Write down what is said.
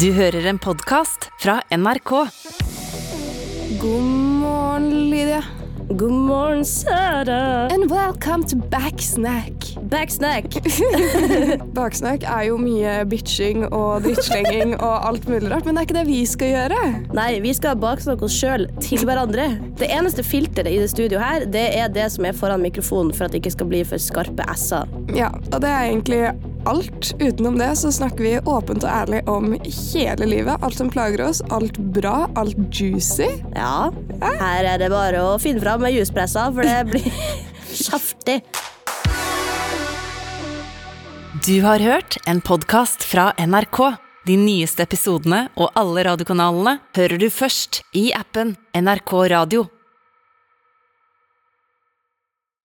Du hører en podkast fra NRK. God morgen, Lydia. God morgen, Sara. And welcome to Backsnack. Backsnack. Baksnakk er jo mye bitching og drittslenging og alt mulig rart, men det er ikke det vi skal gjøre. Nei, vi skal baksnakke oss sjøl til hverandre. Det eneste filteret i det studioet her, det er det som er foran mikrofonen for at det ikke skal bli for skarpe s-er. Ja, og det er egentlig alt. Utenom det så snakker vi åpent og ærlig om hele livet. Alt som plager oss, alt bra, alt juicy. Ja, her er det bare å finne fram med juspressa, for det blir saftig. Du har hørt en podkast fra NRK. De nyeste episodene og alle radiokanalene hører du først i appen NRK Radio.